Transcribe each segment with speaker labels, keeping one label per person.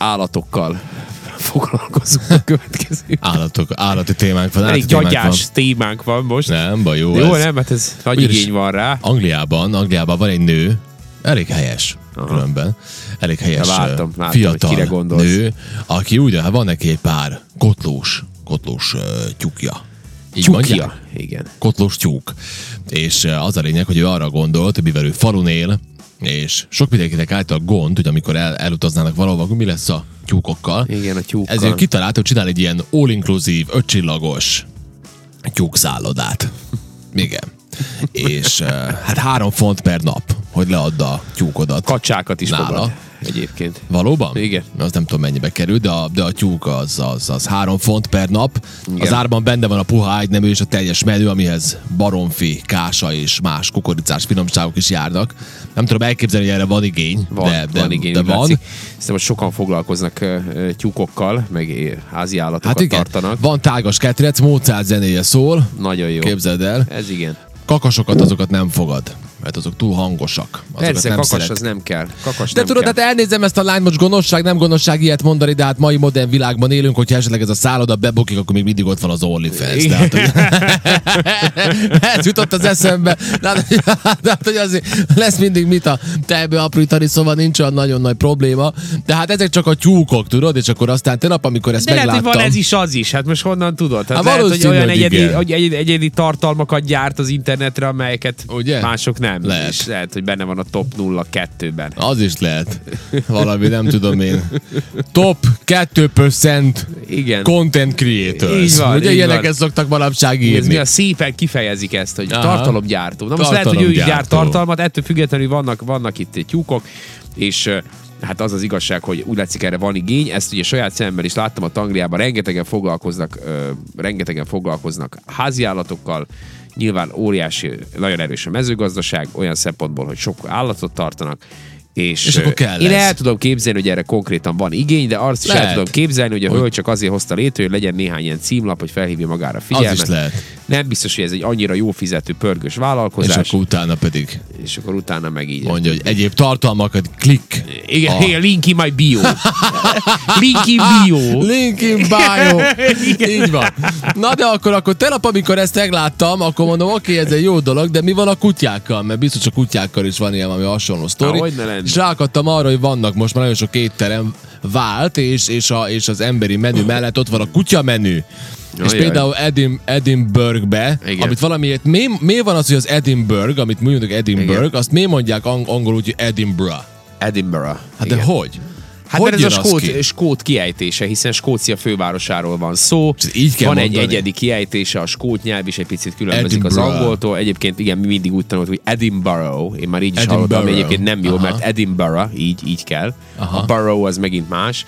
Speaker 1: állatokkal foglalkozunk a következő.
Speaker 2: Állatok, állati témánk van.
Speaker 1: Elég
Speaker 2: állati témánk
Speaker 1: gyagyás témánk van most.
Speaker 2: van. Nem, baj, jó,
Speaker 1: Jó,
Speaker 2: ez.
Speaker 1: nem, mert ez nagy
Speaker 2: Ugyanis-
Speaker 1: igény van rá.
Speaker 2: Angliában, Angliában van egy nő, elég helyes különben, elég helyes
Speaker 1: Na, láttam,
Speaker 2: ö,
Speaker 1: láttam,
Speaker 2: fiatal
Speaker 1: hogy kire gondolsz.
Speaker 2: nő, aki úgy, hát van neki egy pár kotlós, kotlós ö, tyúkja. Így
Speaker 1: Tyúkja.
Speaker 2: mondják?
Speaker 1: Igen.
Speaker 2: kotlós tyúk. És eh, az a lényeg, hogy ő arra gondolt, hogy mivel ő falun él, és sok mindenkinek által gond, hogy amikor el, elutaznának valahova, akkor mi lesz a tyúkokkal.
Speaker 1: Igen, a tyúkkal.
Speaker 2: Ezért kitalálta, hogy csinál egy ilyen all-inclusive, ötcsillagos tyúkszállodát. Igen. és eh, hát három font per nap, hogy leadda a tyúkodat.
Speaker 1: Kacsákat is
Speaker 2: Nála.
Speaker 1: fogad egyébként.
Speaker 2: Valóban?
Speaker 1: Igen.
Speaker 2: Az nem tudom mennyibe kerül, de a, de a tyúk az, az, az három font per nap. Igen. Az árban benne van a puha ágynemű és a teljes menü, amihez baromfi, kása és más kukoricás finomságok is járnak. Nem tudom elképzelni, hogy erre van igény.
Speaker 1: Van,
Speaker 2: de, de,
Speaker 1: van igény,
Speaker 2: de
Speaker 1: úgy
Speaker 2: van.
Speaker 1: látszik. Szerintem most sokan foglalkoznak ö, ö, tyúkokkal, meg ö, házi állatokat
Speaker 2: Hát igen,
Speaker 1: tartanak.
Speaker 2: van tágas ketrec, Mozart zenéje szól.
Speaker 1: Nagyon jó.
Speaker 2: Képzeld el.
Speaker 1: Ez igen.
Speaker 2: Kakasokat azokat nem fogad, mert azok túl hangosak. Azokat
Speaker 1: Persze,
Speaker 2: nem
Speaker 1: kakas
Speaker 2: szeret.
Speaker 1: az nem kell. Kakas
Speaker 2: De
Speaker 1: nem
Speaker 2: tudod,
Speaker 1: kell.
Speaker 2: hát elnézem ezt a lány, most gonoszság, nem gonoszság ilyet mondani, de hát mai modern világban élünk, hogyha esetleg ez a szálloda bebukik, akkor még mindig ott van az OnlyFans. Tehát, hogy... ez jutott az eszembe. De hát, hogy, de hát, hogy azért lesz mindig mit a tejbe aprítani, szóval nincs olyan nagyon nagy probléma. De hát ezek csak a tyúkok, tudod, és akkor aztán tegnap, amikor ezt
Speaker 1: De lehet, hogy
Speaker 2: megláttam...
Speaker 1: van ez is az is, hát most honnan tudod? Hát
Speaker 2: Hát
Speaker 1: lehet, hogy
Speaker 2: valószínű,
Speaker 1: olyan
Speaker 2: hogy
Speaker 1: egyedi,
Speaker 2: igen.
Speaker 1: hogy egyedi, egyedi tartalmakat gyárt az internetre, amelyeket
Speaker 2: Ugye?
Speaker 1: mások nem.
Speaker 2: Lehet.
Speaker 1: És lehet, hogy benne van a top 0-2-ben.
Speaker 2: Az is lehet. Valami, nem tudom én. Top 2%
Speaker 1: Igen.
Speaker 2: content creators.
Speaker 1: Így van,
Speaker 2: Ugye
Speaker 1: így
Speaker 2: ilyeneket
Speaker 1: van.
Speaker 2: szoktak manapság írni.
Speaker 1: Ez mi a szépen kifejezik ezt, hogy
Speaker 2: Aha.
Speaker 1: tartalomgyártó. Na most lehet, hogy ő is gyárt
Speaker 2: Tartalomgyártó.
Speaker 1: tartalmat, ettől függetlenül vannak, vannak itt tyúkok, és ö, hát az az igazság, hogy úgy látszik erre van igény, ezt ugye saját szememmel is láttam a Tangliában, rengetegen foglalkoznak, ö, rengetegen foglalkoznak háziállatokkal, nyilván óriási, nagyon erős a mezőgazdaság, olyan szempontból, hogy sok állatot tartanak, és,
Speaker 2: És
Speaker 1: ö,
Speaker 2: akkor kell
Speaker 1: én
Speaker 2: ez.
Speaker 1: el tudom képzelni, hogy erre konkrétan van igény, de azt is el
Speaker 2: Lehet.
Speaker 1: tudom képzelni, hogy a hölgy csak azért hozta létre, hogy legyen néhány ilyen címlap, hogy felhívja magára figyelmet
Speaker 2: Az is lehet.
Speaker 1: nem biztos, hogy ez egy annyira jó fizető pörgős
Speaker 2: És
Speaker 1: vállalkozás, és
Speaker 2: akkor
Speaker 1: akkor,
Speaker 2: utána pedig
Speaker 1: és akkor utána meg így.
Speaker 2: mondja, hogy egyéb tartalmakat klik.
Speaker 1: Igen,
Speaker 2: A-
Speaker 1: hey, link in my bio. link in bio.
Speaker 2: Link in Ah, bio. Így van. Na de akkor, akkor telap, amikor ezt megláttam, akkor mondom, oké, okay, ez egy jó dolog, de mi van a kutyákkal? Mert biztos a kutyákkal is van ilyen, ami hasonló sztori.
Speaker 1: Há, hogy ne lenne.
Speaker 2: és rákattam arra, hogy vannak most már nagyon sok étterem vált, és, és, a, és az emberi menü mellett ott van a kutya menü. És
Speaker 1: Ajaj.
Speaker 2: például Edim, Edinburghbe,
Speaker 1: Igen.
Speaker 2: amit valamiért, mi, mi van az, hogy az Edinburgh, amit mi mondjuk Edinburgh,
Speaker 1: Igen.
Speaker 2: azt mi mondják ang- angolul, hogy Edinburgh.
Speaker 1: Edinburgh.
Speaker 2: Hát de hogy?
Speaker 1: Hát
Speaker 2: hogy
Speaker 1: mert ez
Speaker 2: jön
Speaker 1: a
Speaker 2: az ki?
Speaker 1: skót, skót kiejtése, hiszen Skócia fővárosáról van szó.
Speaker 2: És így kell
Speaker 1: van egy
Speaker 2: mondani?
Speaker 1: egyedi kiejtése, a skót nyelv is egy picit különbözik az
Speaker 2: Edinburgh.
Speaker 1: angoltól. Egyébként igen, mi mindig úgy tanultuk, hogy Edinburgh, én már így is
Speaker 2: Edinburgh.
Speaker 1: hallottam, ami egyébként nem jó,
Speaker 2: Aha.
Speaker 1: mert Edinburgh, így, így kell.
Speaker 2: Aha.
Speaker 1: A borough az megint más,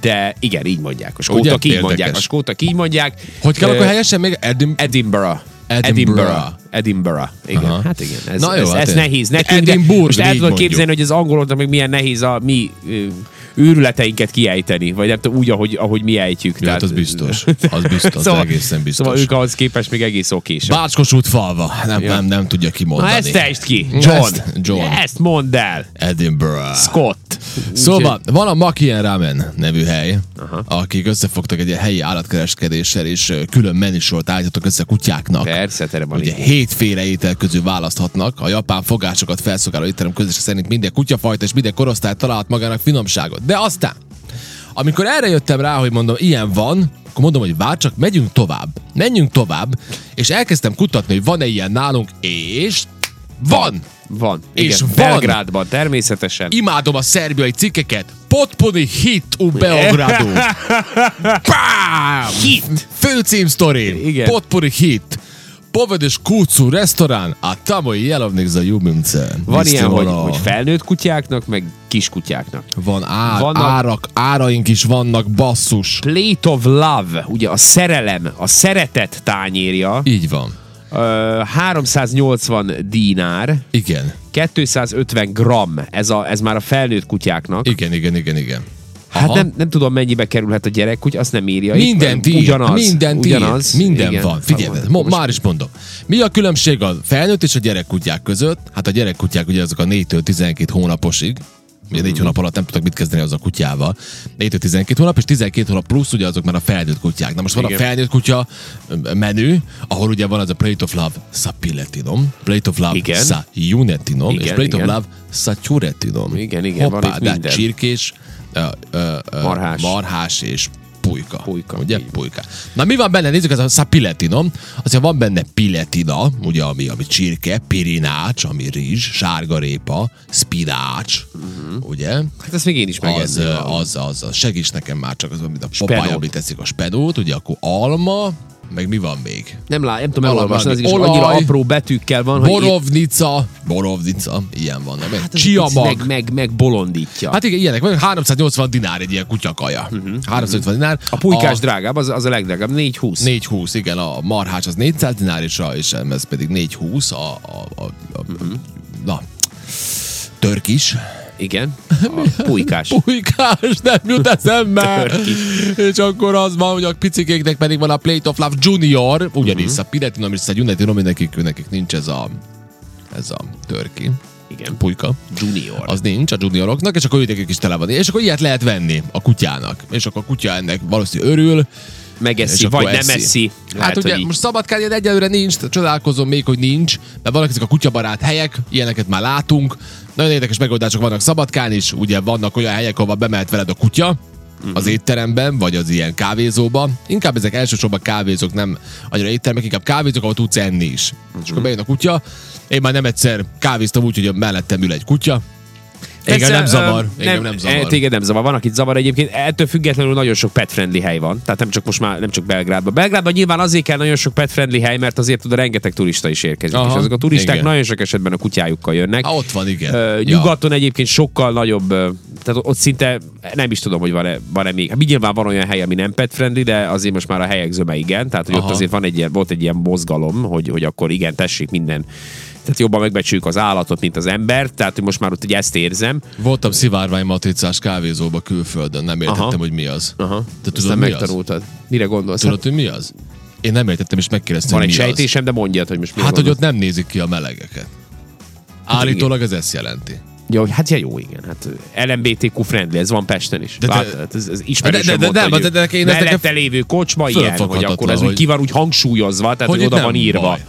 Speaker 1: de igen, így mondják. A skótak
Speaker 2: Ugye?
Speaker 1: így
Speaker 2: Érdekes.
Speaker 1: mondják. A skótak így mondják.
Speaker 2: Hogy kell
Speaker 1: Ö,
Speaker 2: akkor helyesen még Edim...
Speaker 1: Edinburgh.
Speaker 2: Edinburgh.
Speaker 1: Edinburgh. Edinburgh. Igen,
Speaker 2: Aha.
Speaker 1: hát igen. Ez,
Speaker 2: Na jó,
Speaker 1: ez,
Speaker 2: hát
Speaker 1: ez
Speaker 2: én-
Speaker 1: nehéz nekünk. de
Speaker 2: Edinburgh,
Speaker 1: Most el
Speaker 2: így
Speaker 1: tudod
Speaker 2: mondjuk.
Speaker 1: képzelni, hogy az angoloknak még milyen nehéz a mi ö, őrületeinket kiejteni, vagy nem tudom, úgy, ahogy, ahogy mi ejtjük.
Speaker 2: Ja, hát az biztos. Az biztos, szóval, egészen biztos.
Speaker 1: Szóval ők ahhoz képest még egész okésak.
Speaker 2: Bácskos út falva. Nem, ja. nem, nem tudja
Speaker 1: Na
Speaker 2: kimondani.
Speaker 1: ezt tejtsd ki,
Speaker 2: Na,
Speaker 1: John.
Speaker 2: ezt- John.
Speaker 1: Ezt mondd el,
Speaker 2: Edinburgh.
Speaker 1: Scott.
Speaker 2: Szóval van a Makien Ramen nevű hely, Aha. akik összefogtak egy ilyen helyi állatkereskedéssel, és ö, külön menüsort állítottak össze kutyáknak.
Speaker 1: Persze, tere van
Speaker 2: Ugye
Speaker 1: így.
Speaker 2: hétféle étel közül választhatnak. A japán fogásokat felszolgáló étterem közös szerint minden kutyafajta és minden korosztály talált magának finomságot. De aztán, amikor erre jöttem rá, hogy mondom, ilyen van, akkor mondom, hogy vár csak, megyünk tovább. Menjünk tovább, és elkezdtem kutatni, hogy van-e ilyen nálunk, és van!
Speaker 1: Van. Igen,
Speaker 2: És van.
Speaker 1: Belgrádban természetesen.
Speaker 2: Imádom a szerbiai cikkeket. Potponi hit u Beogradu. Bám!
Speaker 1: Hit.
Speaker 2: Főcím sztori.
Speaker 1: Igen.
Speaker 2: Potpori hit. Povedes kucu restaurán, a tamo i jelovnik za ljubimce.
Speaker 1: Van
Speaker 2: Mislim,
Speaker 1: ilyen, hogy,
Speaker 2: ono,
Speaker 1: hogy felnőtt kutyáknak, meg kiskutyáknak.
Speaker 2: Van ár,
Speaker 1: Vannak-
Speaker 2: árak, áraink is vannak, basszus.
Speaker 1: Plate of Love, ugye a szerelem, a szeretet tányérja,
Speaker 2: Így van.
Speaker 1: ö, 380 dinár,
Speaker 2: Igen.
Speaker 1: 250 gram, ez, a, ez már a felnőtt kutyáknak.
Speaker 2: Igen, igen, igen, igen.
Speaker 1: Hát
Speaker 2: Aha.
Speaker 1: nem, nem tudom, mennyibe kerülhet a gyerekkutya, azt nem írja. itt,
Speaker 2: Mindent ír,
Speaker 1: ugyanaz,
Speaker 2: mindent ír,
Speaker 1: ugyanaz.
Speaker 2: minden
Speaker 1: Igen.
Speaker 2: van. Figyelj,
Speaker 1: Van.
Speaker 2: mo- már is mondom. Mi a különbség a felnőtt és a gyerekkutyák között? Hát a gyerekkutyák ugye azok a 4-től 12 hónaposig, Ugye
Speaker 1: Mhm.
Speaker 2: négy hónap alatt nem tudtak mit kezdeni az a kutyával. 4-12 hónap, és 12 hónap plusz ugye azok már a felnőtt kutyák. Na most van
Speaker 1: Igen.
Speaker 2: a felnőtt kutya ö, menü, ahol ugye van az a Plate of Love sa piletinom, Plate of Love
Speaker 1: Igen.
Speaker 2: sa junetinom, és
Speaker 1: Igen,
Speaker 2: Plate
Speaker 1: igen.
Speaker 2: of Love sa curetinom.
Speaker 1: Igen, igen, van
Speaker 2: Hoppá,
Speaker 1: itt
Speaker 2: de hát
Speaker 1: minden.
Speaker 2: csirkés, ö, ö, ö,
Speaker 1: Marhás.
Speaker 2: marhás és pulyka.
Speaker 1: Pulyka,
Speaker 2: Ugye?
Speaker 1: így.
Speaker 2: Pulyka. Na mi van benne? Nézzük, ez a szapiletinom. Azért van benne piletina, ugye, ami, ami csirke, pirinács, ami rizs, sárgarépa, spinács, ugye?
Speaker 1: Hát ezt még én is
Speaker 2: Az,
Speaker 1: megenném.
Speaker 2: ö, az, az, az, segíts nekem már csak az, amit a papály
Speaker 1: Spenót.
Speaker 2: említették, a spenót, ugye, akkor alma, meg mi van még?
Speaker 1: Nem, lá, nem tudom
Speaker 2: Valami.
Speaker 1: elolvasni, az igaz,
Speaker 2: Olaj.
Speaker 1: annyira apró betűkkel van, hogy itt-
Speaker 2: Borovnica, borovnica, ilyen van. Nem?
Speaker 1: hát
Speaker 2: Hát
Speaker 1: ez egy
Speaker 2: Csiamag.
Speaker 1: picit meg, meg, megbolondítja. Hát,
Speaker 2: Hát igen, ilyenek vannak. 380 dinár egy ilyen kutyakaja. Uh-huh. 350 dinár.
Speaker 1: Mhm. a pulykás a... drágább, az, az a legdrágább, 4-20.
Speaker 2: 420, igen, a marhács az 400 dinár, és, a, és ez pedig 420, a, a, a, a
Speaker 1: Mhm.
Speaker 2: uh-huh. na, törkis.
Speaker 1: Igen, a pulykás.
Speaker 2: Pulykás, nem jut eszembe.
Speaker 1: Törkis.
Speaker 2: és akkor az van, hogy a picikéknek pedig van a Plate of Love Junior, ugyanis uh-huh. a Piretinom és a Junior, nekik, nekik nincs ez a, ez a törki.
Speaker 1: Igen,
Speaker 2: Pulyka.
Speaker 1: junior.
Speaker 2: Az nincs a junioroknak, és akkor ők is tele van. És akkor ilyet lehet venni a kutyának. És akkor a kutya ennek valószínűleg örül.
Speaker 1: Megeszi,
Speaker 2: és akkor
Speaker 1: vagy nem eszi.
Speaker 2: Hát ugye
Speaker 1: így.
Speaker 2: most szabadkányon egyelőre nincs, tehát csodálkozom még, hogy nincs, mert vannak ezek a kutyabarát helyek, ilyeneket már látunk. Nagyon érdekes megoldások vannak szabadkán is, ugye vannak olyan helyek, ahova bemehet veled a kutya,
Speaker 1: Mhm.
Speaker 2: az étteremben, vagy az ilyen kávézóban. Inkább ezek elsősorban kávézók, nem annyira éttermek, inkább kávézók, ahol tudsz enni is. Uh-huh.
Speaker 1: Mhm.
Speaker 2: És akkor bejön a kutya. Én már nem egyszer kávéztam úgy, hogy mellettem ül egy kutya. Engem
Speaker 1: Persze,
Speaker 2: nem zavar.
Speaker 1: ö,
Speaker 2: Engem nem
Speaker 1: eh,
Speaker 2: zavar.
Speaker 1: Téged nem zavar. Van, akit zavar egyébként. Ettől függetlenül nagyon sok pet-friendly hely van. Tehát nem csak most már, nem csak Belgrádban. Belgrádban nyilván azért kell nagyon sok pet-friendly hely, mert azért oda rengeteg turista is érkezik.
Speaker 2: Aha,
Speaker 1: és azok a turisták
Speaker 2: igen.
Speaker 1: nagyon sok esetben a kutyájukkal jönnek.
Speaker 2: Ah, ott van, igen.
Speaker 1: Ö, Nyugaton egyébként sokkal nagyobb, ö, tehát ott szinte nem is tudom, hogy van-e, van-e még. Hát nyilván van olyan hely, ami nem pet friendly, de azért most már a helyek zöme igen. Tehát, hogy ott
Speaker 2: Aha.
Speaker 1: azért van egy ilyen, volt egy ilyen mozgalom, hogy, hogy akkor igen, tessék minden. Tehát jobban megbecsüljük az állatot, mint az embert, tehát hogy most már ott egy ezt érzem.
Speaker 2: Voltam szivárvány matricás kávézóba külföldön, nem értettem,
Speaker 1: Aha.
Speaker 2: Aha. hogy mi az.
Speaker 1: Aha.
Speaker 2: Te tudod,
Speaker 1: Aztán
Speaker 2: mi az?
Speaker 1: megtanultad. Mire gondolsz? Hát,
Speaker 2: Tudod, hogy mi az? Én nem értettem, és megkérdeztem,
Speaker 1: van egy
Speaker 2: hogy mi az.
Speaker 1: sejtésem, de mondjad, hogy most mi
Speaker 2: Hát, hogy ott nem nézik ki a melegeket. Állítólag ez ezt jelenti.
Speaker 1: Jó, hát ja, jó, igen. Hát ö, LMBTQ friendly, ez van Pesten is. De,
Speaker 2: de-
Speaker 1: Lát, hát ez, ez ismerősen
Speaker 2: de- de- de-
Speaker 1: mondta,
Speaker 2: nem,
Speaker 1: hogy
Speaker 2: de- de- de- én ezt
Speaker 1: mellette
Speaker 2: nekem-
Speaker 1: lévő kocsma ilyen, hogy akkor ez
Speaker 2: Fölfoghatatlan,
Speaker 1: úgy
Speaker 2: hogy-
Speaker 1: ki van úgy hangsúlyozva, tehát hogy,
Speaker 2: itt
Speaker 1: oda
Speaker 2: nem
Speaker 1: van írva.
Speaker 2: baj.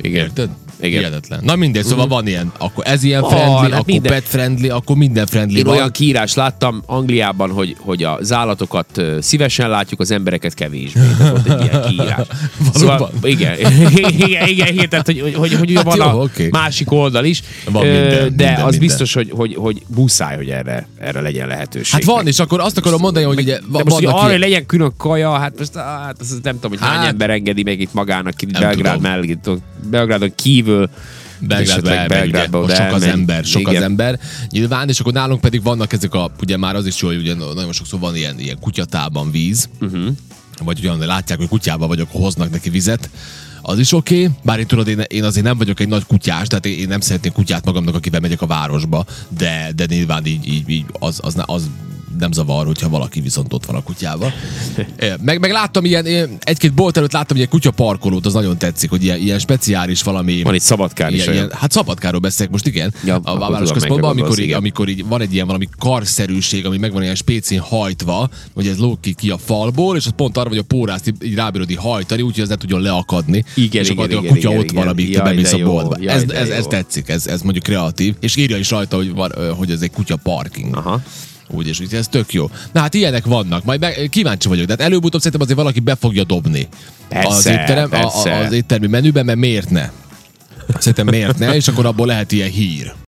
Speaker 1: Igen.
Speaker 2: Érted?
Speaker 1: Igen.
Speaker 2: Igen. Hihetetlen. Na mindegy, szóval van ilyen. Akkor ez ilyen
Speaker 1: Van,
Speaker 2: friendly,
Speaker 1: hát
Speaker 2: akkor
Speaker 1: minden.
Speaker 2: pet friendly, akkor minden friendly
Speaker 1: Én
Speaker 2: van. Hát
Speaker 1: olyan kiírás láttam Angliában, hogy, hogy az állatokat ö, szívesen látjuk, az embereket kevésbé. Ez volt egy ilyen kiírás. Szóval,
Speaker 2: Valóban?
Speaker 1: igen, igen, igen, igen, tehát hogy, hogy, hogy, hogy
Speaker 2: Hát
Speaker 1: van
Speaker 2: jó,
Speaker 1: a
Speaker 2: oké.
Speaker 1: másik oldal is,
Speaker 2: Van
Speaker 1: ö, de
Speaker 2: minden, minden,
Speaker 1: az
Speaker 2: minden.
Speaker 1: biztos, hogy, hogy, hogy muszáj, hogy erre, erre legyen lehetőség.
Speaker 2: Hát van, és akkor azt akarom mondani, hogy ugye
Speaker 1: De most, hogy
Speaker 2: vannak
Speaker 1: arra, hogy
Speaker 2: ilyen.
Speaker 1: legyen külön kaja, hát most á, hát azt nem tudom, hogy hát, hány
Speaker 2: Hát-
Speaker 1: ember engedi meg itt magának itt
Speaker 2: Nem
Speaker 1: Belgrád
Speaker 2: tudom.
Speaker 1: mellett, Belgrádon kívül.
Speaker 2: Belgrádba
Speaker 1: esetleg
Speaker 2: elmegy, ugye,
Speaker 1: Belgrádba
Speaker 2: most
Speaker 1: oda
Speaker 2: sok az
Speaker 1: elmegy.
Speaker 2: ember, sok
Speaker 1: Igen.
Speaker 2: az ember. Nyilván, és akkor nálunk pedig vannak ezek a, ugye már az is jó, hogy ugye nagyon sokszor van ilyen, ilyen kutyatában víz,
Speaker 1: Mhm.
Speaker 2: uh-huh. vagy ugyan látják, hogy kutyában vagyok, hoznak neki vizet, az is oké, okay. bár én tudod, én, én azért nem vagyok egy nagy kutyás, tehát én, én nem szeretnék kutyát magamnak, akivel megyek a városba, de, de nyilván így, így, így az, az, az nem zavar, hogyha valaki viszont ott van a kutyával. É, Meg, meg láttam ilyen, én egy-két bolt előtt láttam ilyen kutyaparkolót, az nagyon tetszik, hogy ilyen, ilyen speciális valami...
Speaker 1: Van itt Szabadkán is
Speaker 2: Ilyen,
Speaker 1: olyan.
Speaker 2: ilyen, hát Szabadkáról beszélek most, igen.
Speaker 1: Ja,
Speaker 2: Ja,
Speaker 1: akkor
Speaker 2: a
Speaker 1: tudom, melyikre
Speaker 2: városközpontban, amikor,
Speaker 1: gondolsz,
Speaker 2: így,
Speaker 1: igen.
Speaker 2: amikor így van egy ilyen valami karszerűség, ami megvan ilyen spécén hajtva, hogy ez lóg ki, ki a falból, és az pont arra, hogy a pórászt így- így rábírod így hajtani, úgyhogy ez ne tudjon leakadni.
Speaker 1: Igen,
Speaker 2: és akkor
Speaker 1: igen,
Speaker 2: a
Speaker 1: igen,
Speaker 2: kutya
Speaker 1: igen,
Speaker 2: ott van,
Speaker 1: igen.
Speaker 2: amíg te
Speaker 1: Jaj,
Speaker 2: bemész
Speaker 1: de
Speaker 2: a
Speaker 1: jó,
Speaker 2: boltba.
Speaker 1: jaj,
Speaker 2: ez,
Speaker 1: de
Speaker 2: ez, ez
Speaker 1: jó.
Speaker 2: tetszik, ez, ez mondjuk kreatív. És írja is rajta, hogy, van, ö, hogy ez egy kutya parking.
Speaker 1: Aha.
Speaker 2: Úgy és úgy, ez tök jó. Na hát ilyenek vannak, majd meg, kíváncsi vagyok, de hát előbb-utóbb szerintem azért valaki be fogja dobni
Speaker 1: Persze,
Speaker 2: az, étterem,
Speaker 1: persze.
Speaker 2: A, az éttermi menüben, mert miért ne? Szerintem miért ne, és akkor abból lehet ilyen hír.